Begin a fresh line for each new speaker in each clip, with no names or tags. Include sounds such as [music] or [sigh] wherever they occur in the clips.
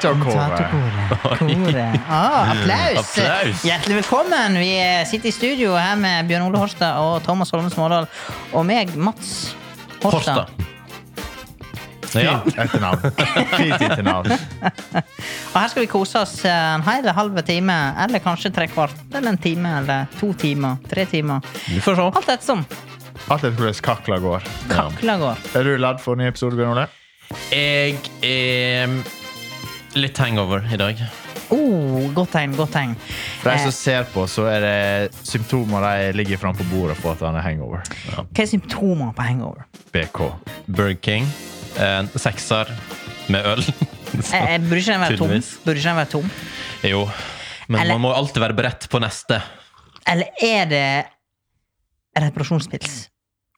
Kontatorkoret.
[laughs]
Koret. Ah, applaus.
Applaus.
Hjertelig velkommen. Vi eh, sitter i studio her med Bjørn Ole Horstad og Thomas Holme Smådal. Og meg, Mats Horstad.
Horstad. Ja.
Etternavn. Fint etternavn.
Og her skal vi kose oss eh, en hel halve time, eller kanskje tre kvart, eller en time, eller to timer, tre timer.
Vi får se.
Alt ettersom.
Alt etter hvordan kakla går.
Kakla går.
Er du ladd for en ny episode, Bjørn Ole?
Jeg er litt hangover i dag.
Oh, godt tegn, godt tegn.
For de
Eh,
som ser på, så er det symptomer de ligger framme på bordet på at han er hangover.
Eh, Hva er symptomer på hangover?
BK.
Burger King. En sekser med øl. [laughs] Så,
Eh, eh, Burde ikke den være tom?
Tydeligvis.
Burde ikke den være tom?
jo. Men
Eller-
man må alltid være beredt på neste.
Eller er det reparasjonspils?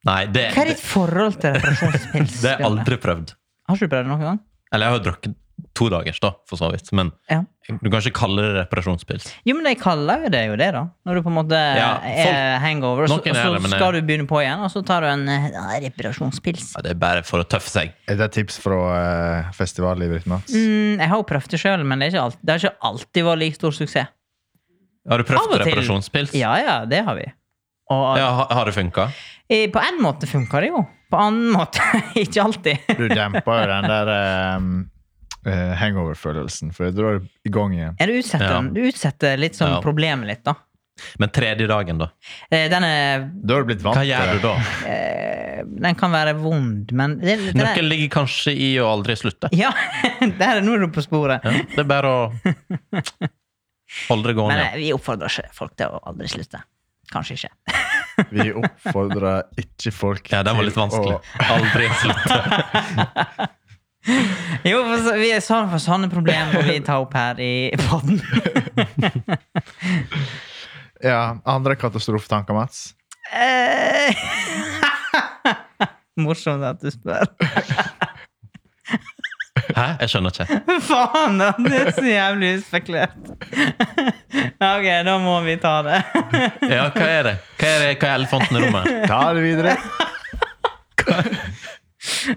Nei, det,
Hva er ditt forhold til reparasjonspils?
det har jeg
Bjørne?
aldri prøvd.
Har ikke du prøvd det noen gang?
Eller jeg har jo drukket to dagers, da, for så vidt. Men
Ja.
du kan ikke kalle det reparasjonspils.
Jo, men de kaller jo det jo det, da. Når du på en måte
Ja,
er
folk-
hangover, og så,
Noen er
og
det,
så
men
skal
jeg-
du begynne på igjen, og så tar du en eh, ja, reparasjonspils.
Ja, det er bare for å tøffe seg.
Er det et tips fra eh, festivallivet ditt, Mats?
Mm, jeg har jo prøvd det sjøl, men det, er ikke alt, det har ikke alltid vært like stor suksess.
Har du
Av og
prøvd
til.
reparasjonspils?
Ja, ja, det har vi. Og
Ja, ha- har det funka?
eh, på en måte funker det jo. På annen [laughs] måte ikke alltid.
Du demper jo den der eh, eh, hangover-følelsen, for det drar i gang igjen.
Ja, du utsetter,
Ja.
den. Du utsetter litt sånn
Ja.
problemet litt, da.
Men tredje dagen, da?
Eh, Den, er,
Da har du blitt vant
Hva gjør du da?
eh, den kan være vond, men det, det, det,
Nøkkelen ligger kanskje i å aldri slutte.
Ja, [laughs] der er nå er du på sporet.
Ja, det er bare å holde det
Men
gående.
eh, vi oppfordrer ikke folk til å aldri slutte. Kanskje ikke.
Vi oppfordrer ikke folk
Ja, den var
til
litt vanskelig.
å-
[laughs] Aldri slutte.
[laughs] Jo, for så, vi er sånn for sånne problemer vi tar opp her i podden.
Ja, andre katastrofetanker, Mats?
Eh, [laughs] Morsomt at du spør. [laughs]
Hæ? Jeg skjønner ikke.
Faen, da! Det er så jævlig uspekulert. [laughs] Ok, da må vi ta det. [laughs]
Ja, hva er det? Hva er, det? Hva er elefanten i rommet?
Ta det videre.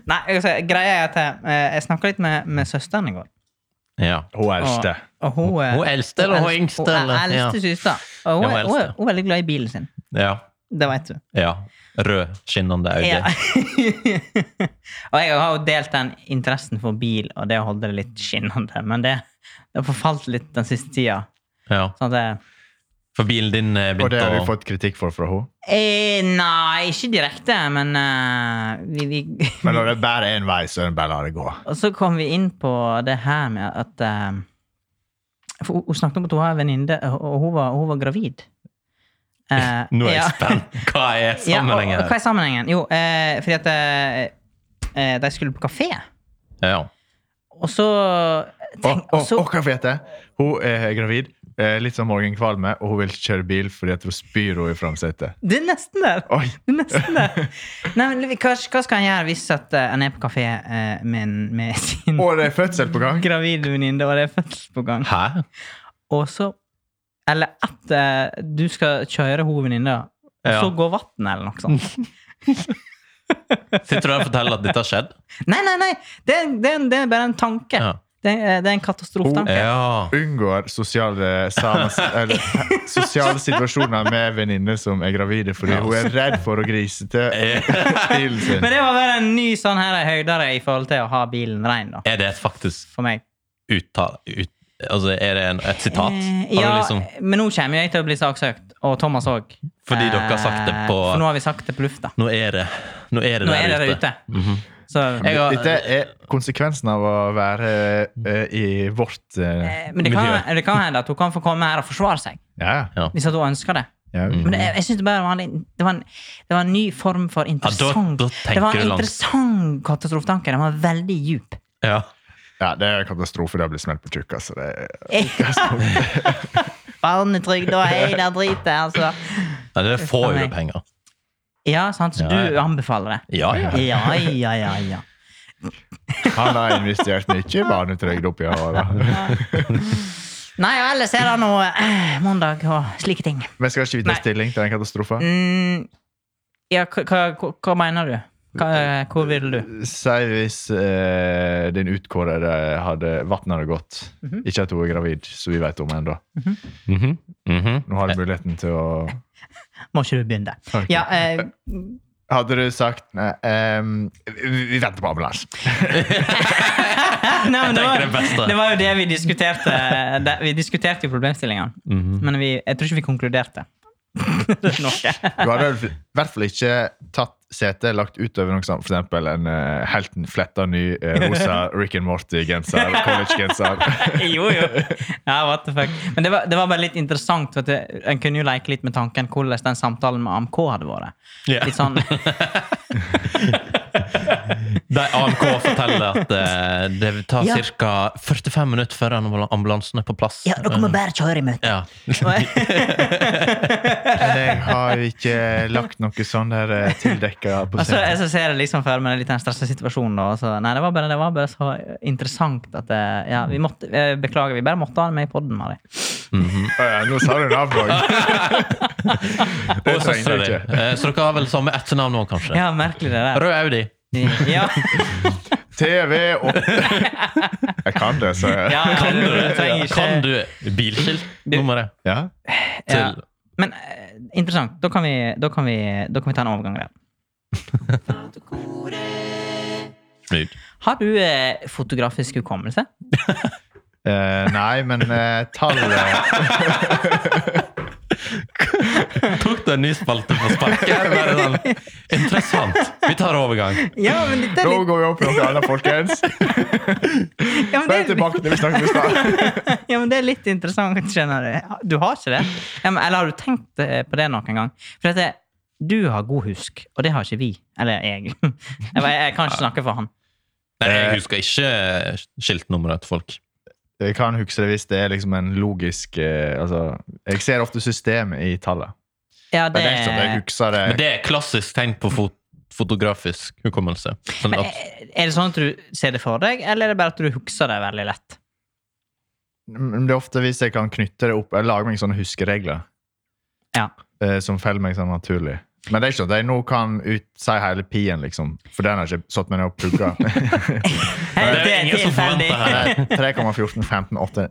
Nei, altså, greia er at jeg, jeg snakka litt med, med søsteren i går.
Ja.
Hun
Og,
eldste.
og hun, eh,
Hun eldste eller hun
eldste-
yngste,
Hun
eller?
eldste
Ja.
søster. Og hun,
Ja,
er-
hun
hun, er-
eldste.
hun er veldig glad i bilen sin.
ja.
Det veit du.
ja. Rød, skinnende Audi.
Ja. [laughs] og jeg har jo delt den interessen for bil og det å holde det litt skinnende, men det det har forfalt litt den siste tida.
Ja.
Sånn at jeg,
For bilen din eh,
Og det
begynte
har
å
du fått kritikk for fra henne?
eh, nei, ikke direkte, men eh, vi, vi [laughs]
Men når det bare er én vei, så er det bare å la det gå.
Og så kom vi inn på det her med at eh, for hun- Hun snakket om at hun har en venninne, og og hun var, hun var
[laughs]
gravid. Eh,
Nå er
ja.
jeg spent. Hva er
[laughs] Ja, og,
sammenhengen?
og hva
her?
er sammenhengen? Jo, eh, fordi at eh, eh, de skulle på kafé.
Ja.
Og så
Og,
tenk,
og,
og så-
og hva vet jeg? Hun er gravid, eh, litt sånn morgenkvalme, og hun vil ikke kjøre bil fordi at hun spyr henne i framsetet.
Det er nesten der!
Oi,
Det er nesten der.
[laughs]
Nei, men hva, hva skal han gjøre hvis at eh, han er på kafé eh, med, en- med [laughs] sin
og det er fødsel på gang!
gravide venninne, og det er fødsel på gang?
Hæ?
Og så Eller at eh, du skal kjøre hun venninna, og
Ja.
så går vannet, eller noe sånt.
[laughs] Sitter du her og forteller at dette har skjedd?
Nei, nei, nei! Det er, det er, en- det er bare en tanke.
Ja.
Det, er, det er en katastrofetanke.
ja.
Unngår sosiale, samens, eller, sosiale situasjoner med venninner som er gravide fordi hun er redd for å grise
[laughs]
til bilen sin.
Men det var bare en ny sånn her høydere i forhold til å ha bilen rein, da.
Er det et faktisk
For meg.
uttale ut, Altså, er det en, et sitat?
Eh,
Har
ja,
du liksom,
men nå kommer jeg til å bli saksøkt. Og Thomas òg.
Fordi dere har sagt det på-
For nå har vi sagt det på lufta.
nå er det Nå er det
Nå
der
er det der
ute. Mhm.
ute. Så,
Jeg har-
Dette er konsekvensen av å være eh, i vårt eh,
eh, men det kan,
miljø.
det kan hende at hun kan få komme her og forsvare seg,
Ja,
Ja.
hvis at hun ønsker det.
ja.
Mm.
Men det, jeg synes det bare var en, liten- det var en, det var en ny form for interessant
da
Det var
tenker
en
du langt.
interessant katastrofetanke. Den var veldig djup.
Ja.
ja det er katastrofe. Det blir smelt på tjukka. Så det
[laughs]
er
Barnetrygd og hele dritet, altså.
Nei, det får jo
meg.
du penger.
Ja, sant? Så
Ja,
du
ja.
anbefaler det?
Ja, ja.
Ja, ja, ja. ja.
Han har investert mye i barnetrygd oppi
[laughs]
åra.
Nei, og ellers er det nå eh, mandag og slike ting.
Men skal ikke vi ta
Nei.
stilling til den katastrofen?
Mm, ja, hva, hva, hva mener du? Hva, eh, hvor vil du?
Si hvis eh, din utkårede hadde vannet hadde gått.
Mhm.
Ikke at hun er gravid, som vi vet om ennå.
Mhm, mhm.
Nå har du muligheten til å
Må ikke du begynne?
Ok.
Ja, eh,
Hadde du sagt nei, ehm, vi, vi venter på ambulanse.
nei, men det,
Jeg tenker det beste.
var, det var jo det vi diskuterte. eh, Det, vi diskuterte jo problemstillingene,
Mhm.
men vi, jeg tror ikke vi
[laughs]
konkluderte. Noe.
Du hadde vel i hvert fall ikke tatt setet lagt utover noe sånt, for eksempel en eh, helt fletta ny eh, rosa
[laughs]
Rick and Morty-genser, college-genser.
jo, jo. Ja, what the fuck. Men det var, det var bare litt interessant. For at det- en kunne jo leke litt med tanken hvordan den samtalen med AMK hadde vært.
Ja.
Litt
[laughs]
sånn,
De AMK forteller at eh, det tar
Ja.
ca. 45 minutter før ambul- ambulansen er på plass. Eh,
ja, dere må bare kjøre i møte.
Mm. Ja. [laughs]
Jeg har ikke lagt noe sånn der eh, tildekka
[laughs]
på
Og så,
setet.
jeg så ser jeg liksom for meg litt den stressa situasjonen. Da, og så, nei, det var, bare, det var bare så interessant at det, ja, vi måtte, eh, Beklager, vi bare måtte ha det med i poden, Mari.
Mhm.
Å ja, nå sa du navnet
[laughs]
òg. Det trenger
Og søstera
du
di.
ikke.
Eh, Så dere har vel samme etternavn nå, kanskje?
Ja, merkelig det der.
Rød Audi.
Ja,
TV
[laughs]
og Jeg kan det, så jeg.
ja,
Kan du,
trenger ikke-
kan du bilskiltnummeret
Ja.
Ja.
til
Men eh, interessant. Da kan, vi, da, kan vi, da kan vi ta en overgang
[laughs]
der.
lyd?
Har du eh, fotografisk hukommelse?
Eh, nei, men eh,
[laughs]
tallet
Tok du en ny spalte på sparket? Bare sånn, Interessant. Vi tar overgang.
Ja, men dette
Nå går vi opp på noe annet,
[laughs]
folkens.
ja, men
Vær
det, er-
tilbake til det vi snakket om i stad.
ja, men det er litt interessant, skjønner du. Du har ikke det? Ja, men, eller har du tenkt eh, på det noen gang? For dette, du har god husk, og det har ikke vi. Eller jeg. [laughs] Jeg, bare- jeg kan ikke snakke for han.
Nei, jeg husker ikke skiltnummeret til folk.
Jeg kan huske det hvis det er liksom en logisk eh, altså, Jeg ser ofte systemet i tallet.
Ja,
Det er det
sånn
som
Eh,
jeg husker
Men
det.
det er klassisk tegn på fot fotografisk hukommelse. Sånn
Men
at,
er er det sånn at du ser det for deg, eller er det bare at du husker det veldig lett?
Men det er ofte hvis jeg kan knytte det opp Jeg lager meg sånne huskeregler
Ja.
eh, som feller meg sånn naturlig. Men det er ikke sånn at jeg nå kan ut, si hele pien, liksom. For den har jeg ikke satt meg ned og pugga.
[laughs] Hei,
det er ingen som
tilfeldig.
forventer her.
3,14, 15, 8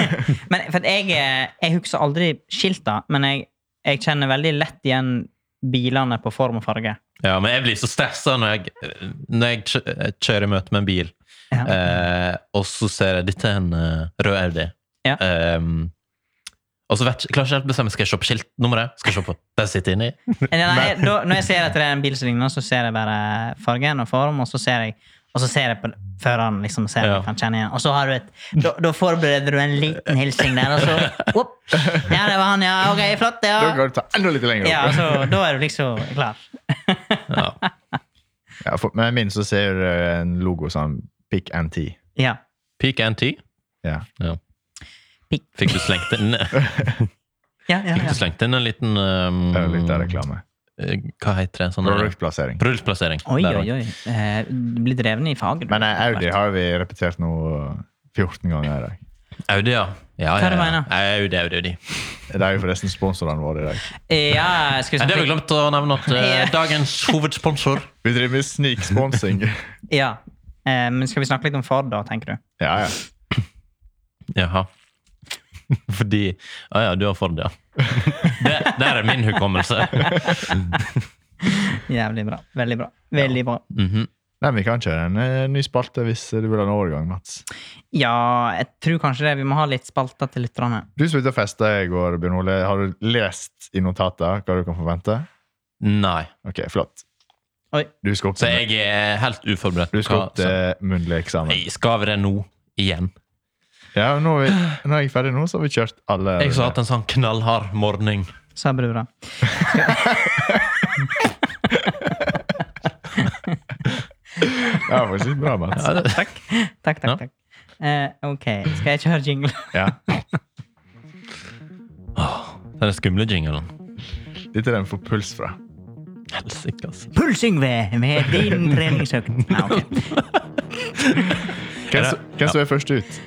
[laughs] Men for at jeg, eh, jeg husker aldri skilta, men jeg, jeg kjenner veldig lett igjen bilene på form og farge.
ja, men jeg blir så stressa når jeg, når jeg kjø- kjører i møte med en bil,
Ja.
eh, og så ser jeg dette er en eh, rød Audi.
Ja.
Ehm, og så vet, jeg- klarer ikke helt å bestemme skal jeg se på skiltnummeret. Skal jeg se på den jeg sitter inni?
Nei, nei, jeg- da, når jeg ser etter en bil som ligner, så ser jeg bare fargen og form, og så ser jeg og så ser jeg på føreren, liksom, ser
Ja.
jeg kan kjenne igjen. Og så har du et, da, da forbereder du en liten hilsing der, og så whoop. Ja, det var han, ja. Ok, flott,
Da
ja.
kan du ta enda litt lenger opp.
ja så, da er du liksom klar.
Ja.
[laughs]
Ja, for, men jeg minnes å se eh, en logo sånn Pick and Tee.
Ja.
Peak NT.
Ja.
Ja.
Peak.
Fikk du slengt inn,
[laughs] Ja, ja,
fikk
ja.
du slengt inn en liten
Det er jo
ehm,
litt av reklame.
eh, Hva heter det? Sånn,
Produktplassering.
Produktplassering.
Oi,
Der
oi, oi. Eh, Du blir dreven i faget. du.
Men eh, Audi har vi repetert nå 14 ganger i dag.
Audi, ja. ja,
Hva
ja,
du
ja.
mener?
Audi, Audi, Audi.
Det er jo forresten sponsorene våre i dag.
Ja, skal vi
Nei, det har vi
snakke
glemt å nevne at eh,
Ja.
dagens hovedsponsor
Vi driver med sniksponsing.
[laughs] Ja. Eh, Men skal vi snakke litt om Ford, da, tenker du?
Ja, ja.
[laughs] Jaha. [laughs] Fordi Å ja, du har Ford, ja. [laughs] Det, der er min hukommelse.
Jævlig bra. Veldig bra. Veldig bra.
Mhm.
Nei, men Vi kan kjøre en eh, ny spalte hvis du vil ha en overgang, Mats.
Ja, jeg tror kanskje det. Vi må ha litt spalter til lytterne.
Du som ute og festa i går, Bjørn Ole, har du lest i notater hva du kan forvente?
Nei.
Ok, flott.
Oi.
Du skal opp
Så
til,
jeg er helt uforberedt.
du skal
Hva-
opp til muntlig eksamen.
Nei, skal vi det nå? Igjen?
Ja, nå er, vi, nå er jeg ferdig nå, så har vi kjørt alle
Jeg har hatt en sånn knallhard morgen.
Sa
[laughs]
brura.
[laughs] Ja, faktisk bra, Mats.
Ja, det-
Takk, takk,
Ja.
takk. Eh, ok, skal jeg kjøre jingle?
Ja.
Den skumle jingelen.
Dette er den får puls fra.
Helsike, altså.
Pulsing ved med din treningsøkt. Nei,
[laughs]
ok.
Hvem, som- hvem som er først ut?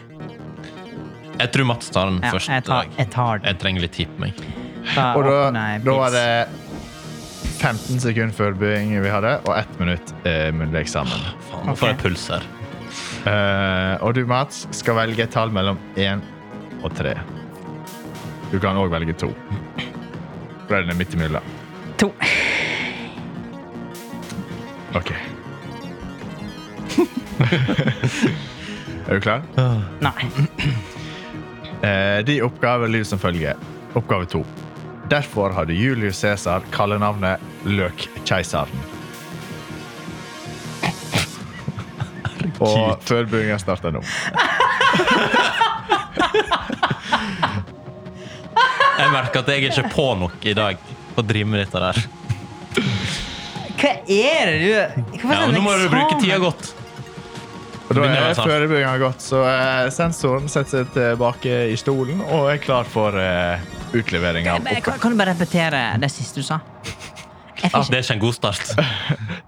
Jeg tror Mats tar den
Ja,
først.
jeg, tar,
i dag.
jeg tar den.
Jeg trenger litt tid på meg.
Ta
Og da,
opp- nei,
da er
please.
det 15 sekunder forbereding vi hadde, og ett minutt eh, muntlig eksamen.
Faen, nå får jeg puls her.
Eh, og du, Mats, skal velge et tall mellom 1 og 3. Du kan òg velge 2. Bredden er midt imellom.
To.
OK. [laughs] er du klar?
Nei.
Eh, de oppgave lyder som følger. Oppgave to. Derfor hadde Julius Cæsar kallenavnet Løkkeiseren. Og forberedningen starter nå.
Jeg merker at jeg er ikke på nok i dag på å drive med dette der.
Hva er det du Hvorfor
Ja,
er det en
nå må du
eksamen?
bruke tida godt.
Og da
Begynner
er
jeg snart.
forberedningen gått, så eh, sensoren setter seg tilbake i stolen og er klar for eh, utlevering av
Men Kan,
oppgaven.
kan du bare repetere det siste du sa? Jeg
Ah,
fikk
det er ikke en god start.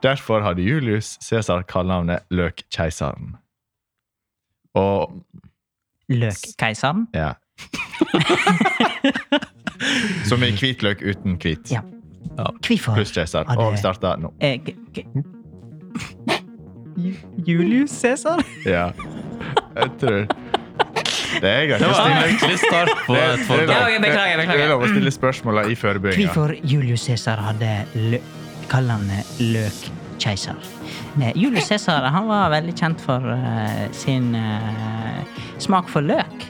Derfor hadde Julius Cæsar kallenavnet Løkkeiseren. Og
Løkkeiseren.
Ja. [laughs] Som i hvitløk uten hvit.
Ja. Hvorfor?
Pluss keiser.
Ja, det-
Og vi starter nå.
Eh, g- g- [laughs] Ju- Julius Cæsar?
Ja. Jeg tror Det er greit
[laughs] Det
å
var en
stille
hyggelig start på
det,
et
det, er
foredrag.
Ja, ok, beklager,
lov-
beklager.
det er lov å stille spørsmåla i forberedinga.
Hvorfor Julius Cæsar hadde lø kallende Løkkeiser? Eh, Julius Cæsar han var veldig kjent for eh, sin eh, smak for løk.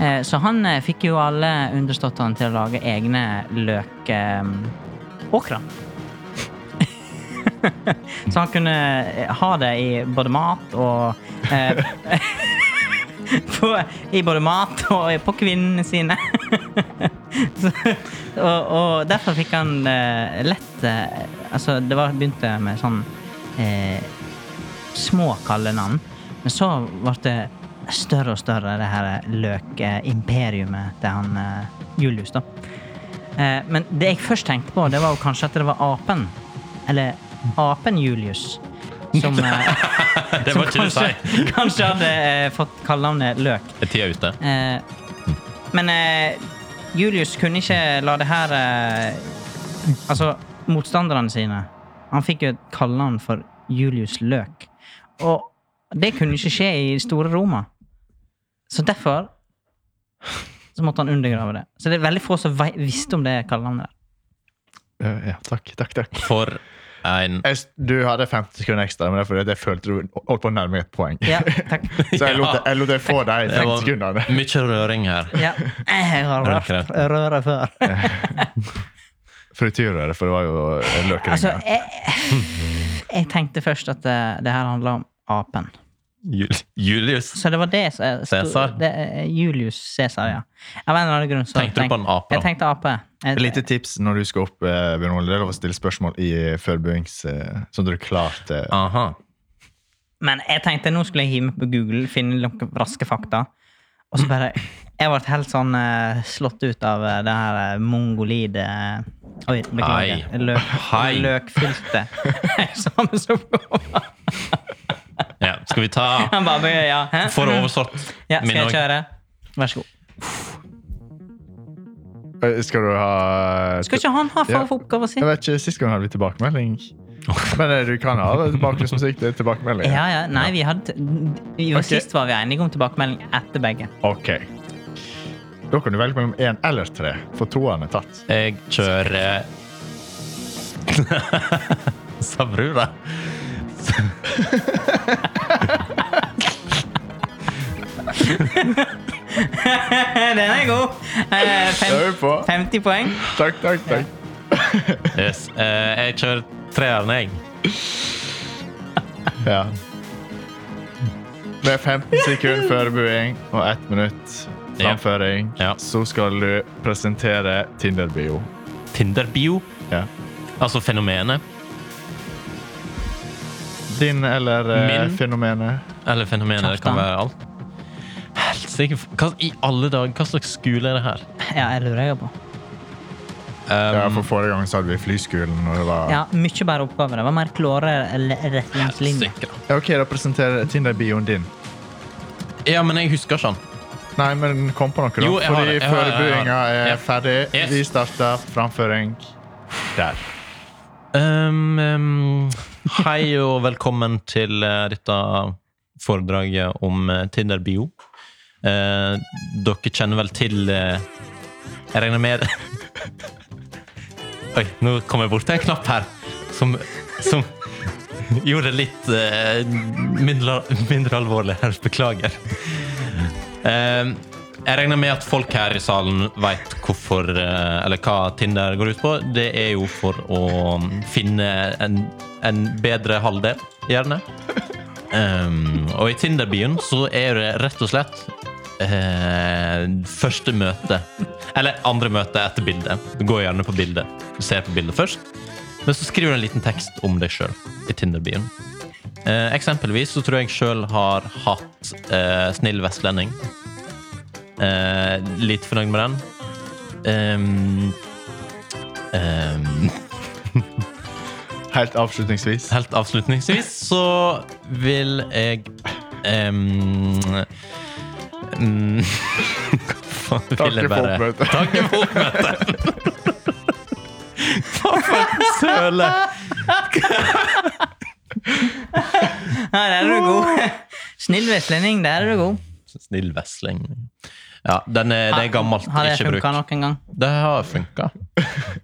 Eh, så han eh, fikk jo alle underståttene til å lage egne eh, løkåkrer. [laughs] så han kunne eh, ha det i både mat og eh, [laughs] på, I både mat og på kvinnene sine. Så, [laughs] og, og derfor fikk han eh, lett eh, Altså, det var, begynte med sånn eh, små kallenavn. Men så ble det større og større, det her løkimperiumet til han eh, Julius, da. Eh, men det jeg først tenkte på, det var jo kanskje at det var apen. Eller apen Julius.
[laughs]
Som, eh,
Det
som
var ikke det du sa.
kanskje, kanskje hadde eh, fått kallenavnet Løk.
Er tida ute?
Eh, men eh, Julius kunne ikke la det her eh, Altså, motstanderne sine Han fikk jo kalle han for Julius Løk. Og det kunne ikke skje i store Roma. Så derfor så måtte han undergrave det. Så det er veldig få som vei- visste om det kallenavnet. der.
Ja, takk, takk, takk.
For en
Jeg, s- du hadde 50 sekunder ekstra, men det er fordi at jeg følte du holdt på å nærme meg et poeng.
Ja, takk.
[laughs] Så jeg lot, jeg lot deg få de
Det
50
var
sekundene.
mye røring her.
Ja. Eh, Jeg har
Røkere.
vært røret før.
Frityrøre, for det var jo eh,
Altså,
løkringer.
jeg, jeg tenkte først at eh, det her handla om apen. [laughs]
Jul- Julius.
Så det var det som sto-
Cæsar?
det er Julius Cæsar, ja. Av en eller annen grunn. Så
Tenkte du på en ape, da?
Jeg tenkte ape. Jeg,
Et lite tips når du skal opp, eh, Bjørn Ole. Det er lov å stille spørsmål i forberedings... Eh, sånn at du er klar til
Aha.
Men jeg tenkte nå skulle jeg hive meg på Google, finne noen raske fakta. Og så bare Jeg ble helt sånn eh, slått ut av eh, det her eh, mongolide eh, Oi,
Hei.
beklager. Løk,
Hei.
[laughs] løkfylte eksamensoppgave.
Ja, skal vi ta
Han bare Ja, hæ?
For oversatt
ja skal
min
jeg
òg.
kjøre? Vær så god.
Eh, Skal du ha
Skal ikke han ha
Ja.
fag for oppgaven sin?
Jeg vet ikke, Sist gang hadde vi tilbakemelding. Men eh, du kan ha det, bakgrunnsmusikk. Det er tilbakemelding.
Ja, ja. Nei, vi hadde vi var,
Ok.
Sist var vi enige om tilbakemelding etter begge.
Ok. Da kan du velge mellom én eller tre, for toeren er tatt.
Jeg kjører [laughs] Sa brura.
Den er god! Eh,
Da er vi
fem,
på.
50 poeng.
Takk, takk, takk.
Yes. eh, Jeg kjører treeren, jeg.
Ja. Med 15 sekunder forbereding og 1 minutt framføring,
Ja. Ja.
så skal du presentere Tinder-bio.
Tinder-bio.
Ja.
Altså fenomenet.
Din eller eh,
Min.
fenomenet.
Eller fenomenet. Det kan
Kjartan.
være alt. Helsike, hva i alle dager? Hva slags skole er det her?
Ja, jeg lurer jeg på.
Ja,
Um,
for Forrige gang så hadde vi Flyskolen. og det var...
Ja, Mye bedre oppgaver. Det var mer klare l- retningslinjer.
helsike.
Ja, OK, da presenterer Tinder-bioen din.
Ja, men jeg husker ikke han.
Nei, men kom på noe, da.
Jo, jeg har
Fordi
det, jeg har det, jeg har det.
forberedinga er
Ja.
ferdig.
Yes.
Vi starter framføring der.
Um, um, hei og velkommen til eh, dette foredraget om eh, Tinder bio. Eh, dere kjenner vel til eh, Jeg regner med [laughs] Oi, nå kom jeg borti en knapp her som, som gjorde det litt eh, mindre, mindre alvorlig her. Beklager. Eh, jeg regner med at folk her i salen vet hvorfor, eh, eller hva Tinder går ut på. Det er jo for å finne en, en bedre halvdel, gjerne. Um, og i Tinder-byen så er det rett og slett eh, første møte. Eller andre møte etter bildet. Gå gjerne på bildet. Se på bildet først. Men så skriver du en liten tekst om deg sjøl i Tinder-byen. Eh, eksempelvis så tror jeg sjøl har hatt eh, snill vestlending. Eh, litt fornøyd med den. Ehm, ehm,
Helt avslutningsvis.
helt avslutningsvis så vil jeg ehm, mm, [laughs] Hva faen vil jeg
Takke for
bare
oppmøtet.
Takke for oppmøtet! Hva for en søle!
Ja, der er du god. [laughs] Snill vestlending, der er du god.
Snill vesling. Ja, den er, det er gammelt.
Har det
Ikke bruk.
funka nok en gang?
Det har funka.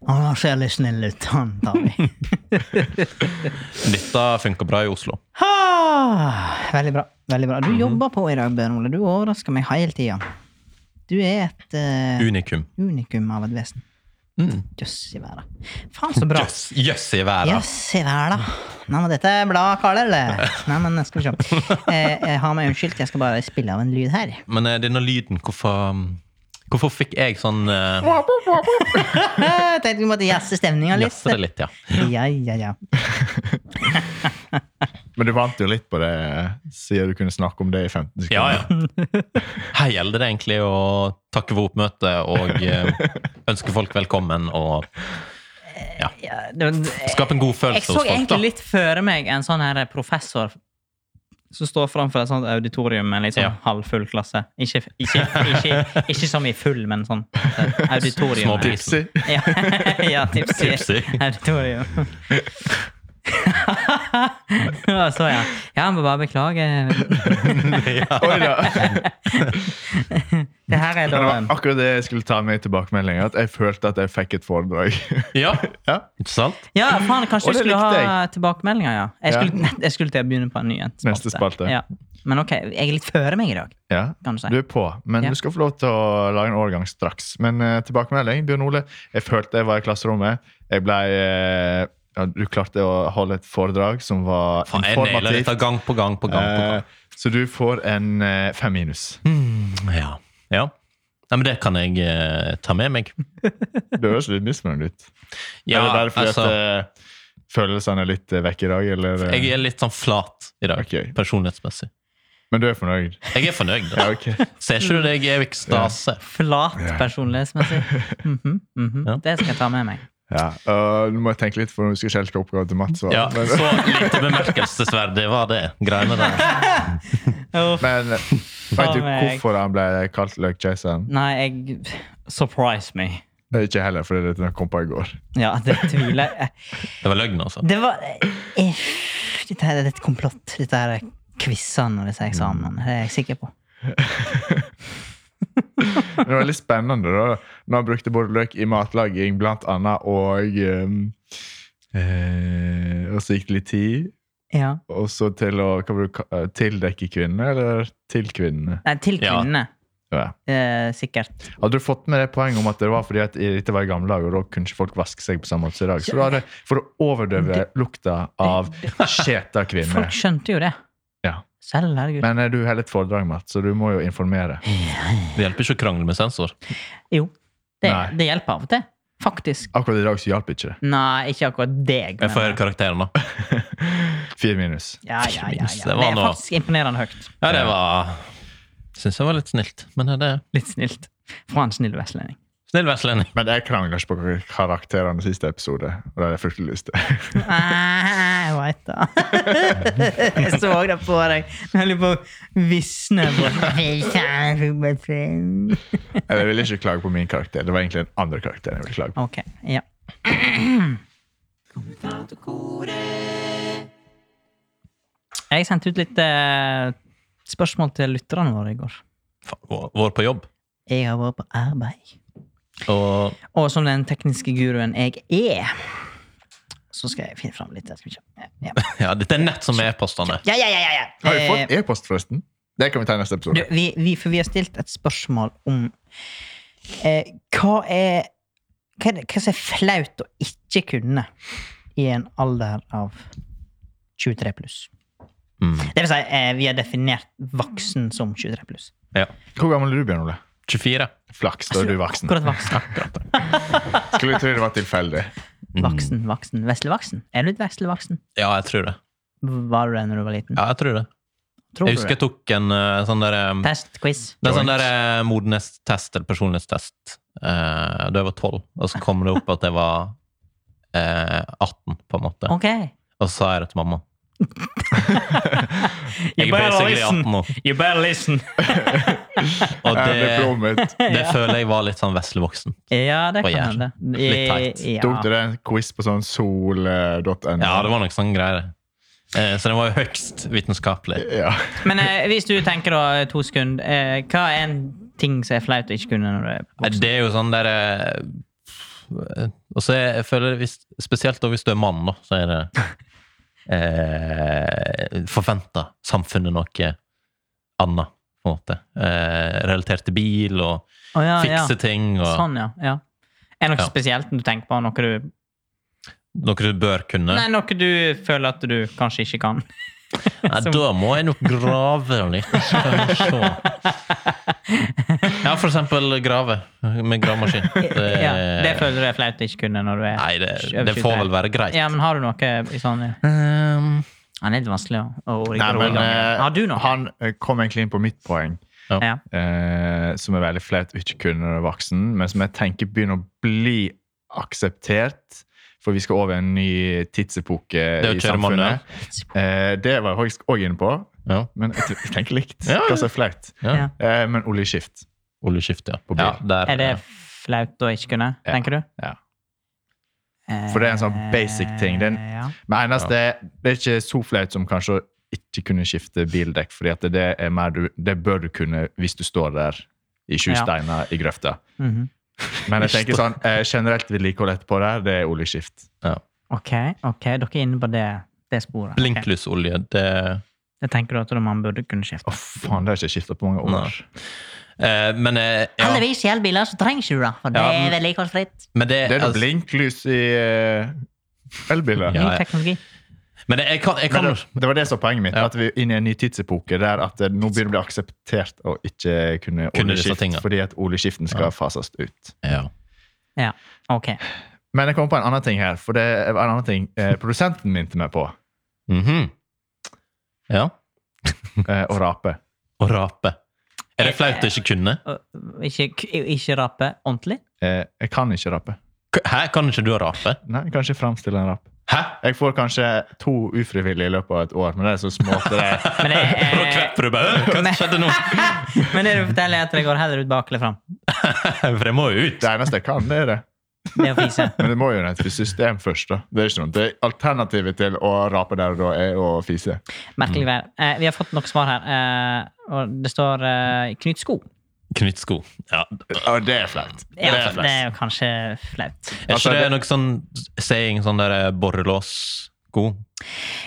Han ser litt snill ut, [laughs] han tar vi.
Dette funka bra i Oslo.
Ah, veldig bra. veldig bra. Du jobber på i dag, Bjørn Ole. Du overrasker meg hele tida. Du er et eh,
Unikum.
unikum av et vesen.
Mm.
Jøss i verden. Faen, så bra.
Jøss jøss i verden!
Jøss i verden. Nei, men dette er bladet, Karl,
[laughs]
eller? Nei, men skal vi se. Eh, jeg har meg unnskyldt, jeg skal bare spille av en lyd her.
Men eh, denne lyden, hvorfor, hvorfor fikk jeg sånn eh,
Eh, Jeg tenkte vi måtte jazze stemninga litt.
Jazze det litt, ja.
Ja, ja, ja.
Men du vant jo litt på det, eh, siden du kunne snakke om det i 15 sekunder.
Ja, ja. [laughs] Her gjelder det egentlig å takke for oppmøtet og eh, ønske folk velkommen og [laughs]
ja det var,
skape en god
Jeg
følelse
så
hos folk.
egentlig
da.
litt føre meg en sånn her professor som står framfor et sånt auditorium med en litt sånn
Ja.
halvfull klasse. Ikke, ikke, ikke, ikke som i full, men sånn eh, auditorium.
Små pris.
Tipsy.
Ja, [laughs] ja tips i
Tipsy.
auditorium. Og så, [laughs] ja. Ja, må bare beklage.
ja.
[laughs] Oi da.
Det her er
Men det
da
var akkurat det jeg skulle ta med i tilbakemeldingen. At jeg følte at jeg fikk et foredrag. [laughs]
ja,
ja.
ikke sant?
Ja, faen, kanskje
Og
du
det
skulle
likte
ha tilbakemeldinger, ja. Jeg
Ja.
skulle, jeg skulle til å begynne på en ny en.
Neste spalte.
Ja. Men ok, jeg er litt føre meg i dag,
ja.
kan du si.
Du er på, men
Ja.
du skal få lov til å lage en overgang straks. Men eh, tilbakemelding, Bjørn Ole. Jeg følte jeg var i klasserommet. Jeg ble, eh, ja, du klarte å holde et foredrag som var
Faen, jeg nailer dette
informativt.
gang på gang på gang. på gang.
Eh, så du får en eh, fem minus.
Ja. ja. Nei, men det kan jeg eh, ta med meg.
Det høres litt misfornøyd ut. er
Ja,
det bare fordi
altså,
at eh, følelsene er litt eh, vekk i dag? Eller, eh?
jeg er litt sånn flat i dag,
Ok.
personlighetsmessig.
Men du er fornøyd?
Jeg er fornøyd.
Ja,
Da.
ok.
Ser ikke du det? Jeg er i ekstase.
Flat
Ja. [laughs]
personlighetsmessig. Mhm, mhm.
Ja.
Det skal jeg ta med meg.
Ja. og nå må jeg tenke litt, for nå skal jeg skjelte oppgaven til Mats. hva?
Ja,
Men,
så lite bemerkelsesverdig var det. Greiene der.
Uff.
men eh, vet du
meg.
hvorfor han ble kalt Løkkekeiseren?
Nei, jeg Surprise me.
Det er Ikke heller, for det er det jeg kom på i går.
Ja, det tviler jeg
Det var løgn, altså.
Det var eh, Dette her er et komplott. Dette her er quizene og disse eksamenene. Det er jeg sikker på.
Men Det var litt spennende da Når han brukte både løk i matlaging Blant annet og ehm, eh, Og så gikk det litt tid
Ja.
Og så til å hva var det du ka- eh, Tildekke kvinnene Eller til kvinnene
Nei, til
Ja.
kvinnene.
ja.
Eh, sikkert.
Hadde du fått med det poenget om at det var fordi at Dette var i gamle dager Og da kunne ikke folk vaske seg på samme måte som i dag Så da hadde For å overdøve lukta av Skjeta
Folk
kvinner
skjønte jo det.
Ja.
Selv, herregud.
Men eh, du har litt foredrag, Mats Så du må jo informere
Det hjelper ikke å krangle med sensor.
Jo. Det,
Nei.
det hjelper av og til. Faktisk.
Akkurat i dag så hjalp ikke det
Nei, ikke akkurat deg.
Jeg får
men-
høre karakteren, da.
Fire minus
ja, ja, ja, ja.
Minst, det
Det
var
er
noe.
faktisk imponerende høyt.
Ja, det var Syns jeg var litt snilt. Men det er
Litt snilt. Fra en snill
[laughs]
vestlending.
snill vestlending.
Men jeg krangler ikke på karakterene siste episode Og det er jeg fryktelig lyst til [laughs]
Ah, Jeg veit det. [laughs] Jeg så det på deg. Jeg holder på å visne. på-
[laughs]
Jeg ville ikke klage på min karakter. Det var egentlig en andre karakter jeg ville klage på.
Ok, ja. Jeg sendte ut litt eh, spørsmål til lytterne våre i går.
Faen, vår- Vår på jobb.
Jeg har vært på arbeid.
Og
Og som den tekniske guruen jeg er, så skal jeg finne fram litt. Jeg skal vi se. Ja,
ja, dette er nett som er e-postene.
[laughs] ja, ja, ja, ja, ja.
Har vi
Eh,
fått e-post, forresten? Det kan vi ta i neste
Du,
episode.
vi, vi, for vi har stilt et spørsmål om eh, hva er hva, er det, hva som er flaut å ikke kunne i en alder av 23 pluss?
Mm.
Det vil si, eh, vi har definert voksen som 23 pluss.
Ja.
Hvor gammel er du, Bjørn Ole?
24.
Flaks, da er du voksen.
Akkurat voksen.
Skulle tro det var tilfeldig.
Voksen, voksen. Veslevoksen. Er du et veslevoksen?
Mm. Ja, jeg tror det.
Var du det når du var liten?
Ja, jeg tror det.
Tror
Jeg
du
husker
det?
jeg tok en eh, sånn der eh,
Test, quiz.
Det er sånn der eh, modenhetstest eller personlighetstest eh, da jeg var tolv. Og så kom det opp at jeg var eh, 18, på en måte.
Ok.
Og så sa jeg det til mamma. Jeg
You
er
better
basically 18
listen.
nå.
You better listen. [laughs]
Og
Jeg ble
det,
brummet.
det føler jeg var litt sånn veslevoksen.
Ja, det
På
kan hende.
hjernen. Litt teit.
Ja.
Tok dere en quiz på sånn sol.no?
Ja, det var noe sånn greier. Eh, så det var jo høyst vitenskapelig.
Ja.
Men eh, hvis du tenker da to sekunder, eh, hva er en ting som er flaut å ikke kunne når du er
Eh,
voksen?
Det er jo sånn der eh, Og så jeg føler jeg hvis, Spesielt da hvis du er mann, da, så er det
[laughs]
eh, forventa samfunnet noe annet, på en måte. Eh, relatert til bil og
Å, ja, ja.
fikse ting og
Sånn, ja. ja. Er det noe
Ja.
spesielt du tenker på? Noe du,
noe du bør kunne.
nei,
Nei,
noe du føler at du kanskje ikke kan? [laughs] som-
da må jeg nok grave
[laughs]
litt. Skal vi se. Ja, for eksempel grave med gravemaskin. Det,
ja, det føler du er flaut å ikke kunne når du er
Nei, det,
over
det får
23.
vel være greit.
Ja, men har du noe i sånn ja.
Ehm,
Han er litt vanskelig å- å orke
Nei, men eh,
Har du noe?
han eh, kom egentlig inn på mitt poeng,
ja.
eh, som er veldig flaut å ikke kunne når du er voksen, men som jeg tenker begynner å bli akseptert, for vi skal over i en ny tidsepoke
Det å
i
kjøre manuell.
samfunnet. Eh, det var jeg faktisk òg inne på,
ja.
men jeg, tror- jeg tenker likt.
Ja, ja.
Hva som er flaut.
Ja.
Ja.
Eh, men oljeskift.
Oljeskift, ja.
På bil.
ja der,
Er det flaut å ikke kunne,
Ja.
tenker du?
Ja. For det er en sånn basic ting. Det er en-
Eh, ja.
Men eneste, det er ikke så flaut som kanskje å ikke kunne skifte bildekk, fordi at det, er mer du, det bør du kunne hvis du står der i sju
Ja.
steiner i grøfta.
Mhm.
Men jeg tenker sånn, eh, generelt vedlikehold etterpå der, det er oljeskift.
ja.
Ok, ok, dere er inne på det, det sporet. Ok.
Blinklysolje, det
Det tenker du at man burde kunne skifte.
Å faen, det har jeg ikke skifta på mange år.
Nei. eh, Men eh, ja.
Heldigvis i elbiler så trenger ikke du det, for det
Ja,
er
men-
vedlikeholdsfritt.
Men det,
Det er da
altså,
blinklys i eh, elbiler.
Ny
Ja, ja.
teknologi.
men det, jeg kan, jeg
Men
kan
det, det var det som var poenget mitt,
Ja.
at vi er inne i en ny tidsepoke der at det nå begynner det å bli akseptert å ikke kunne
Kunne disse
oljeskift,
tingene.
fordi at oljeskiften skal fases ut.
ja.
Ja, ok.
Men jeg kom på en annen ting her, for det var en annen ting eh, produsenten minte meg på.
Mhm. ja.
Eh, å rape.
Og rape. Er det flaut å ikke kunne?
Og Ikke, k- ikke rape ordentlig?
Eh, jeg kan ikke rape.
K- Hæ, kan ikke du rape?
Nei, jeg kan ikke framstille en rap.
Hæ?
Jeg får kanskje to ufrivillige i løpet av et år, men det er så små at det er
Men
[laughs]
det,
[laughs] Og da
eh,
kvepper du bare. «Øh, Hva skjedde
[laughs]
nå?
men det du forteller, er at det går heller ut bak eller fram.
For jeg må jo ut.
det eneste jeg kan, det er det.
Det er å fise.
Men det må jo ned til system først, da. Det er ikke noe. Det alternativet til å rape der og da er å fise.
Merkelig vær. Eh, vi har fått nok svar her, eh, og det står eh, 'knyt sko'.
Knytt sko. Ja.
Og det er flaut.
Ja,
det er
det er
flaut.
jo kanskje flaut.
Er
Altså,
ikke det
det-
noe sånn saying sånn der eh, borrelåssko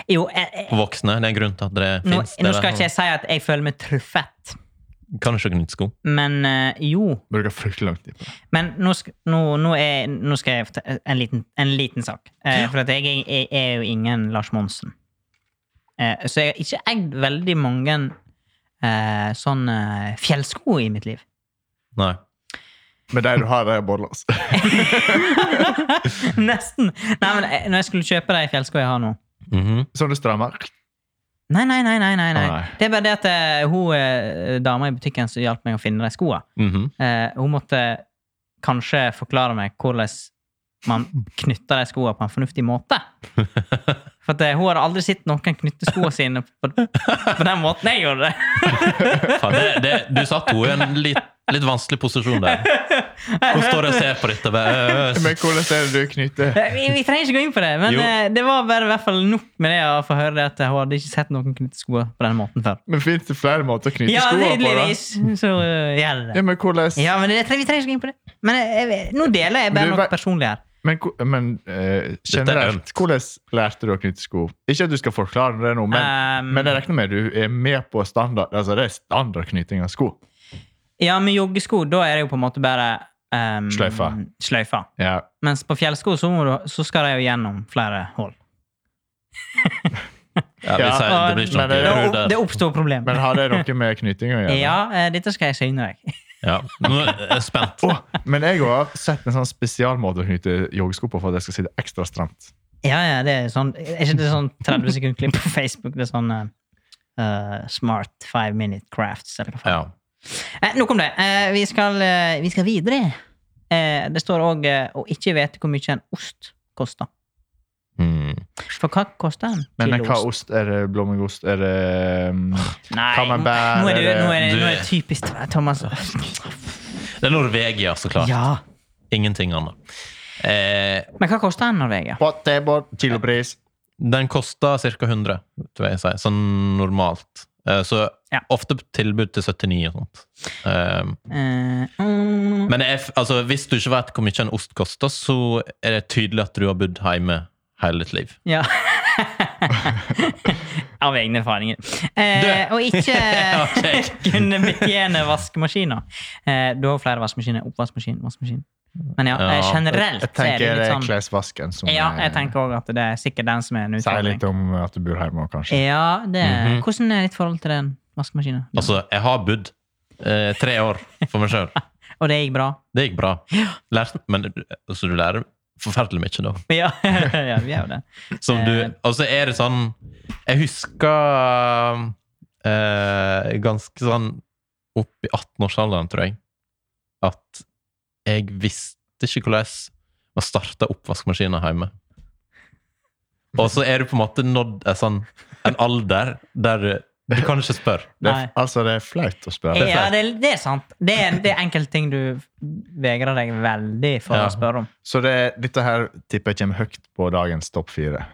Jo, eh, eh,
på voksne? Det er en grunn til at det
nå,
fins.
nå skal
sånn-
ikke jeg si at jeg føler meg truffet,
Kan ikke knytt sko.
men eh, jo.
Bruker fryktelig lang tid på det.
Men nå, sk nå, nå, er, nå skal jeg fortelle en liten, en liten sak. Eh, for at jeg, er- jeg er jo ingen Lars Monsen. Eh, så jeg har ikke eid veldig mange eh, sånne fjellsko i mitt liv. [laughs]
Nei.
Men de du har, det er borrelås.
Nesten! Nei, men eh, når jeg skulle kjøpe de fjellskoene jeg har nå
Mhm.
Sånn du strammer.
Nei, nei, nei. nei, nei, nei.
Å, nei.
Det er bare det at eh, hun eh, dama i butikken som hjalp meg å finne de skoene
Mhm.
Eh, hun måtte kanskje forklare meg hvordan man knytter de skoene på en fornuftig
[laughs]
måte. For at, eh, hun hadde aldri sett noen knytte skoene sine på, på den måten jeg gjorde det.
Faen, det, det, du satte henne i en litt Litt vanskelig posisjon der. Hun står og ser på dette. bare, øh,
Men hvordan er det du knytter
Eh, Vi, vi trenger ikke gå inn på det, men
Jo.
eh, det var bare i hvert fall nok med det å få høre det at hun hadde ikke sett noen knytte skoer på denne måten før.
Men fins det flere måter å knytte
Ja,
skoene på? da?
tydeligvis så eh, gjør det
Ja,
det.
men hvordan
Ja, men det, tre- vi trenger ikke gå inn på det. Men eh, jeg, vet- nå deler jeg
Men
bare
du
noe
vet-
personlig her.
Men, ko- men eh,
er
generelt,
ømt.
hvordan lærte du å knytte sko? Ikke at du skal forklare det nå, men,
Um,
men jeg regner med du er med på standard altså det er standard knytting av sko.
Ja, med joggesko, da er det jo på en måte bare ehm,
Sløyfa.
sløyfa.
Ja.
Mens på fjellsko så, må du, så skal de jo gjennom flere hull.
ja, vi sier, det blir ikke
Men det-
Det,
noe
opp,
ruder.
det oppstår problem.
Men har det noe med knyting å gjøre?
ja, eh, dette skal jeg syne deg. [laughs]
Ja. Nå er jeg spent.
Åh, men jeg har sett en sånn spesialmåte å knyte joggesko på for at jeg skal sitte ekstra stramt.
Ja, ja, det er sånn Er ikke det sånn 30 sekund-klipp på [laughs] Facebook? Det er sånn eh, eh, Smart five minute crafts, eller hva faen.
Ja.
Eh, nok om det. Eh, vi, skal, eh, vi skal videre. Eh, det står òg eh, å ikke vite hvor mye en ost koster.
Mm.
For hva koster en
Men
kilo
hva
ost?
ost er det? Blåmuggost? Er det um,
Nei,
Camembert,
nå er det,
eller-
nå er det,
Du-
nå er det typisk Thomas.
Det er Norvegia, så klart.
Ja.
Ingenting annet. Eh,
Men hva koster en Norvegia?
Pottebord, kilopris.
Den koster ca. 100, tror jeg jeg sier. Sånn normalt. Eh, Så
Ja.
ofte tilbud til 79 og sånt. Eh,
Eh, mm,
Men jeg, f- altså, hvis du ikke vet hvor mye en ost koster, så er det tydelig at du har bodd hjemme hele ditt liv.
ja. [laughs] Av egne erfaringer. Eh,
Du!
og ikke
[laughs]
[laughs]
Ok.
kunne betjene vaskemaskiner. Eh, du har jo flere vaskemaskiner. Oppvaskmaskin, vaskemaskin. Men ja, eh,
Ja,
generelt
Jeg
så er
tenker det
det
er
litt sånn
klesvasken som
Ja, jeg
eh,
tenker òg at det er sikkert den som er en
sier
utfordring.
litt om at du bor hjemme, kanskje.
Ja, det,
Mhm.
Hvordan er ditt forhold til den vaskemaskinen?
Altså, jeg har bodd eh, tre år for meg sjøl.
Og det gikk bra? [laughs]
Det gikk bra. Lært, men altså, du lærer forferdelig mye da.
Ja, [laughs] ja vi er jo det.
Som du,
Eh.
altså er det sånn Jeg husker eh, ganske sånn opp i 18-årsalderen, tror jeg, at jeg visste ikke hvordan man starta oppvaskmaskinen hjemme. Og så er du på en måte nådd en, sånn, en alder der du kan ikke spørre.
Det
Nei.
er, altså, det er flaut å spørre.
Ja, det, er- det er sant. Det er, det er enkelte ting du vegrer deg veldig for
Ja.
å spørre om.
Så det, dette her tipper jeg kommer høyt på dagens topp fire.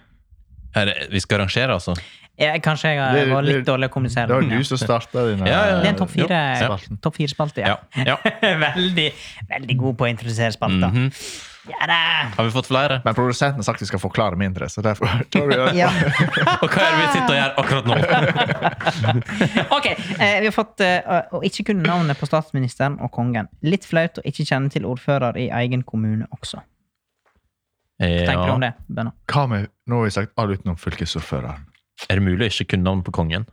Er det- Vi skal rangere, altså?
Jeg, kanskje jeg
Det-
har- var litt
det-
dårlig å kommunisere.
Det var
Ja.
du som starta denne.
Ja, ja,
Det er en topp
Jo,
fire-spalte,
spalten.
topp fire spalte, ja.
Ja. ja.
[laughs] veldig, veldig god på å introdusere spalter.
Mhm.
Ja da!
Har vi fått flere?
Men produsenten har sagt vi skal forklare mindre, så derfor [laughs] tar vi det.
Ja. [laughs]
Og hva er det vi sitter og gjør akkurat nå?
Ok, eh, vi har fått eh, å ikke kunne navnet på statsministeren og kongen. Litt flaut å ikke kjenne til ordfører i egen kommune også. Tenker du om det, Benno?
Hva med, Nå har vi sagt alt utenom fylkesordføreren.
Er det mulig å ikke kunne navnet på kongen?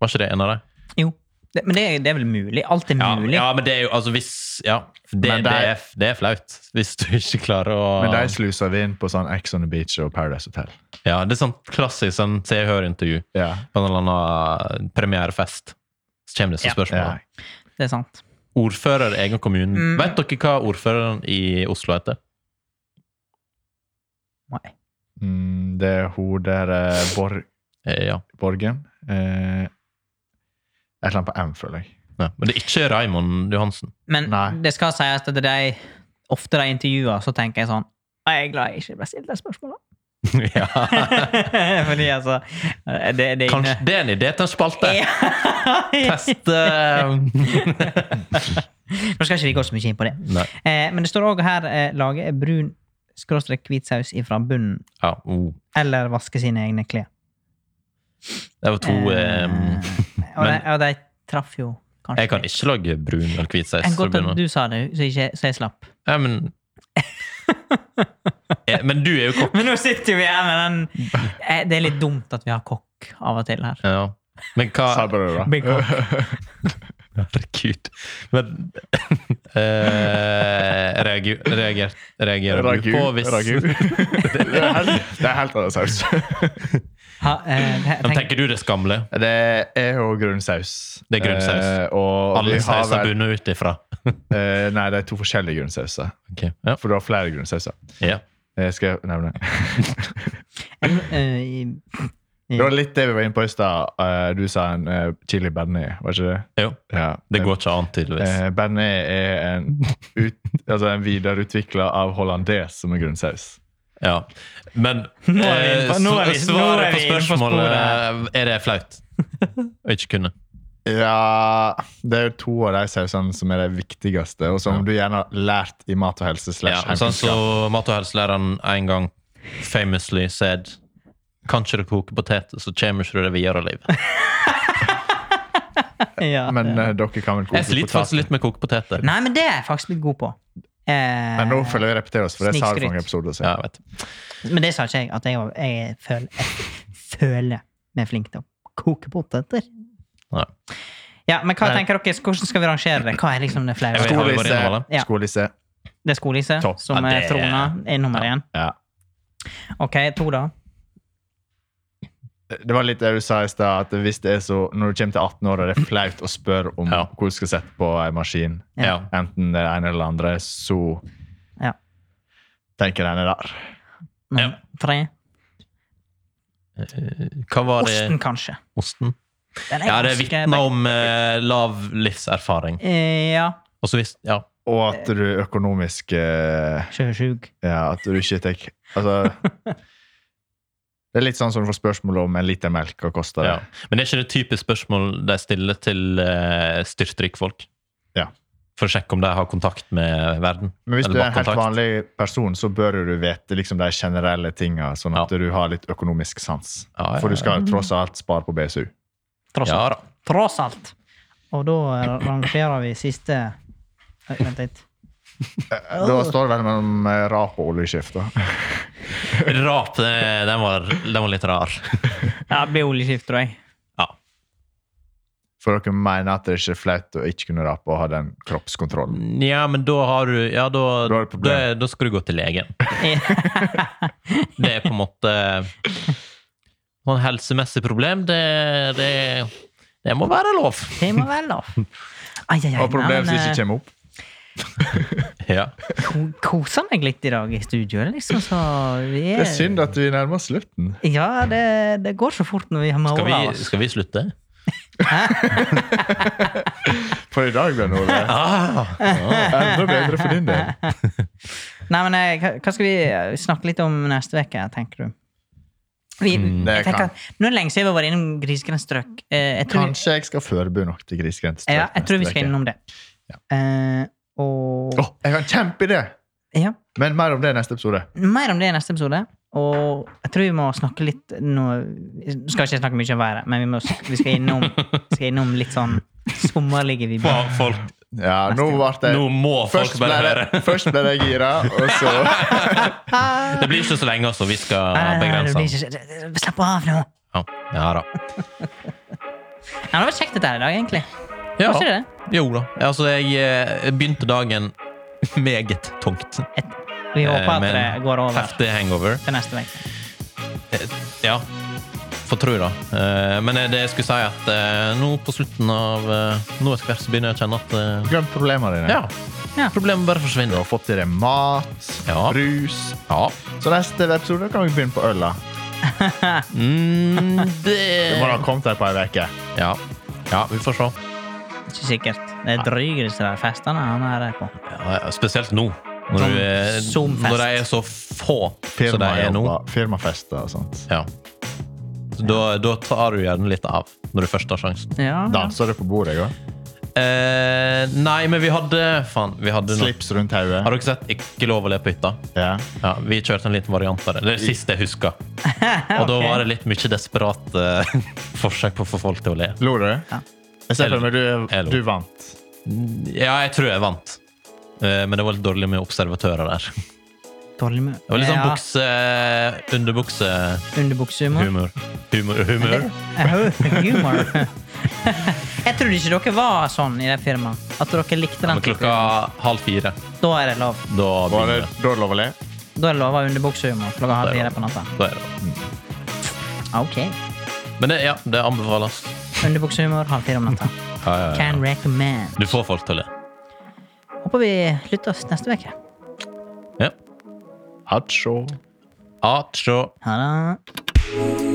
Var ikke det en av dem?
Jo. Det, men det, er- det er vel mulig? Alt er
Ja,
mulig.
ja, men det er jo altså hvis Ja, for det,
Men
det,
det er-
er, det er flaut hvis du [laughs] ikke klarer å
Men de sluser vi inn på sånn Ex on the Beach og Paradise Hotel.
Ja, Det er sånn klassisk sånn Se og Hør-intervju
Ja,
på en eller annen premierefest. Så kommer det
Ja.
som spørsmål.
ja.
Det er sant.
Ordfører i egen kommune.
Mm.
Vet dere hva ordføreren i Oslo heter?
Nei.
Mm, det er hun der eh, Bor
Eh, ja.
Borgen eh, Et eller annet på M, føler jeg.
ja. Men det er ikke Raymond
[laughs]
Johansen.
Men
Nei.
det skal sies at de, ofte de intervjuer, så tenker jeg sånn «Nei, Jeg er glad jeg ikke ble stilt det
[laughs]
spørsmålet.
ja.
Fordi altså Det, det er
Kanskje
inne.
det er en idé til en spalte?
[laughs]
eh,
Ja. [laughs]
Teste
Nå skal ikke vi gå så mye inn på det.
Nei.
Eh, men det står òg her eh, lage er brun skråstrek hvit saus ifra bunnen.
Ja, oh.
Eller vaske sine egne klær.
Det var to
Eh,
eh,
[laughs] og, de,
men-
og de traff jo kanskje
Jeg kan ikke lage brun eller hvit saus.
En
til å
Godt
begynne
at
med.
du sa det, så, ikke, så jeg slapp. [laughs]
Ja, men ja, Men du er jo kokk.
Men nå sitter vi her
[laughs]
med den eh, Det er litt dumt at vi har kokk av og til her.
Ja. Men hva
Sa jeg bare det, da.
Big cock.
[laughs]
Herregud. Men [laughs] eh, reager, reager, Reagerer du
Ragu.
på hvis [laughs]
Ragu. [laughs] det er helt, det er helt annen saus.
Ha, eh, te-
Men
tenk-
Tenker du det er skamlig?
Det er jo grønn saus.
Det er grønn saus.
Eh, og
Alle
vi har
sauser
vel-
bunner ut ifra. [laughs]
eh, Nei, det er to forskjellige grønnsauser.
Ok, Ja.
For du har flere Eh, grønnsauser.
ja.
Jeg skal nevne
eh,
[laughs] Det var litt det vi var inne på i stad. Eh, Du sa en eh, chili bearnés, var ikke det?
Jo,
Ja.
det går ikke an, tydeligvis.
Eh, bearnés er en, ut, altså en videreutvikla av hollandes som er grunnsaus.
Ja. Men
Nå er vi inne på-
eh,
nå er vi-
sv-
nå er vi
svaret på
inne på
spørsmålet er det
[laughs]
flaut å ikke kunne.
Ja Det er jo to av de sausene som er de viktigste, og som du gjerne har lært i mat og helse.
Ja,
slash
sånn
heimkunnskap.
som mat- og helselæreren en gang famously said Kan ikke du koke poteter, så kommer ikke du deg videre i
[laughs]
livet.
Ja.
Men eh, dere kan vel
Jeg
koke
sliter faktisk
poteter.
litt med koke poteter.
Nei, men det er jeg faktisk blitt god på. Eh,
Men nå føler jeg vi repeterer oss, for det sa du
Snikskryt.
for noen episoder siden.
Ja, jeg vet.
Men det sa ikke jeg. At jeg, var- jeg, føler, jeg føler meg flink til å koke poteter.
Nei.
Ja, men hva
Nei.
tenker dere? Hvordan skal vi rangere det? Hva er liksom det
Jeg vet,
flaue?
har vi vært
Skolisse.
innom alle?
Ja.
Skolisse.
Det er skolisse
Topp.
som
Ja,
er
det-
trona er nummer
Ja.
én.
Ja.
Ok, to, da.
Det var litt det du sa i stad, at hvis det er så, når du kommer til 18 år og det er flaut å spørre om
Ja.
hvor du skal sette på en maskin,
Ja.
Ja.
enten det ene eller det andre, så
Ja.
tenker jeg den er der.
Nummer
Ja.
tre.
Eh, Hva var
Osten,
det
kanskje.
Osten?
Den er
Ja, det
ganske-
vitner om eh, lav livserfaring.
Eh, Ja.
Og så visst, ja.
Og at du økonomisk eh,
Sjøsjuk.
Ja, at du ikke tar Altså Det er litt sånn som du får spørsmål om en liter melk, hva koster det?
Ja. Men det er ikke det typiske spørsmål de stiller til uh, styrtrykkfolk?
Ja.
For å sjekke om de har kontakt med verden?
Men hvis
eller
du er en helt
matkontakt.
vanlig person, så bør du vete liksom, de generelle tinga, sånn at du har litt økonomisk sans.
Ja, ja,
For du
ja.
skal tross alt spare på BSU.
[laughs] Tross
Ja
alt.
da.
Tross alt. Og da eh, rangerer vi siste Oi, Vent litt.
Da står det vel mellom eh, rap og oljeskift. [laughs] da.
Rap, det- den var, den var litt rar.
Ja, det blir oljeskift, tror jeg.
Ja.
For dere mener at det ikke er flaut å ikke kunne rape og ha den kroppskontrollen.
ja, men da har du Ja, da,
Da er det
da,
problem.
da skal du gå til legen. Det er på en måte Noen helsemessig problem, det, det, det må være lov.
[laughs] Det må være lov. Ai, ai, ai,
Og problemer som
nei, men,
ikke kommer opp.
Ja.
eh, ko- Koser meg litt i dag i studio, liksom, så vi
Det er synd at vi nærmer oss slutten.
Ja, det, det går så fort når vi har altså.
Skal
måla
vi,
oss.
skal vi slutte?
For i dag, Bjørn
[laughs]
Ole.
Ah,
Enda bedre for din del.
Nei, men eh, hva- hva skal vi eh, snakke litt om neste uke, tenker du? Vi, jeg
Mm, det
tenker,
kan-
at- nå er det lenge siden vi har vært innom grisgrendt strøk. Eh, jeg tror,
Kanskje jeg skal forberede nok til grisgrendt strøk
ja, jeg tror vi
neste
skal
uke.
innom det. Eh, og
Åh, jeg har en kjempeidé!
ja,
Men mer om det i neste episode.
mer om det i neste episode. Og jeg tror vi må snakke litt nå Vi skal ikke snakke mye om været, men vi, må, vi skal, innom,
[laughs]
skal innom litt sånn sommerlige vibber.
fa- folk,
Ja, nå ble det
nå må folk
Først ble
bare høre.
det- Først ble jeg gira, og så
[laughs]
Det blir ikke så lenge, altså. Vi skal
Nei, nei, nei, det
begrense
blir
den.
ikke- Slapp av nå.
Ja, ja da.
Nei, men det var kjekt dette her i dag, egentlig.
Ja.
Var ikke det?
Jo da. Altså, jeg eh, begynte dagen meget tungt.
Et, vi håper at det
Eh, med en
går over
Heftig hangover.
til neste uke.
Eh, Ja. Får tro, da. Eh, Men det jeg skulle si, at eh, nå på slutten av eh, nå etter hvert så begynner jeg å kjenne at eh,
Glem problemene dine.
Ja.
Ja.
Problemet bare
Du
forsvinner.
har fått i deg mat,
Ja.
brus
Ja.
Så neste episode kan vi begynne på øla.
Mm,
Du må
[laughs] det
ha kommet her på ei uke.
Ja. Ja, vi får se.
Ikke sikkert. Det er dryg disse der festene han er der på.
Ja, spesielt nå. Når,
Sånn
du er,
Zoom-fest.
når de er så få som de er nå.
Firmajobber, firmafester og sånt.
Ja. Så da, da tar du gjerne litt av, når du først har sjansen.
Ja, ja.
Danser du på bordet òg?
Eh, nei, men vi hadde Faen, vi hadde noe.
Slips rundt hodet?
Har dere sett 'Ikke lov å le på hytta'?
Ja.
Ja, vi kjørte en liten variant av det. Det er det siste jeg husker. Og da
Ok.
var det litt mye desperate [laughs] forsøk på å få folk til å le.
Lo du?
Ja.
Jeg ser for meg
Jeg
du,
lo.
du vant.
Ja, jeg tror jeg vant. Eh, Men det var litt dårlig med observatører der. Det
Dårlig med
var litt sånn
Ja,
bukse... Underbuksehumor.
Underbuksehumor.
Humor. Humor. [laughs]
Humor. [laughs] Jeg trodde ikke dere var sånn i det firmaet. At dere likte den
Men klokka
typen.
halv fire,
Da er det lov.
da
Var det
begynner det.
da lov å le?
Da er det lov å ha underbuksehumor klokka halv
Det er
fire
lov.
på natta. Ah,
Da er det.
Ok.
Men det, ja, det anbefales.
Underbuksehumor halv fire om natta.
Ja, ja, ja.
Can recommend.
Du får folk til å le.
Håper vi lyttes neste uke.
Ja.
Hatsjå.
Atsjå.
Ha det.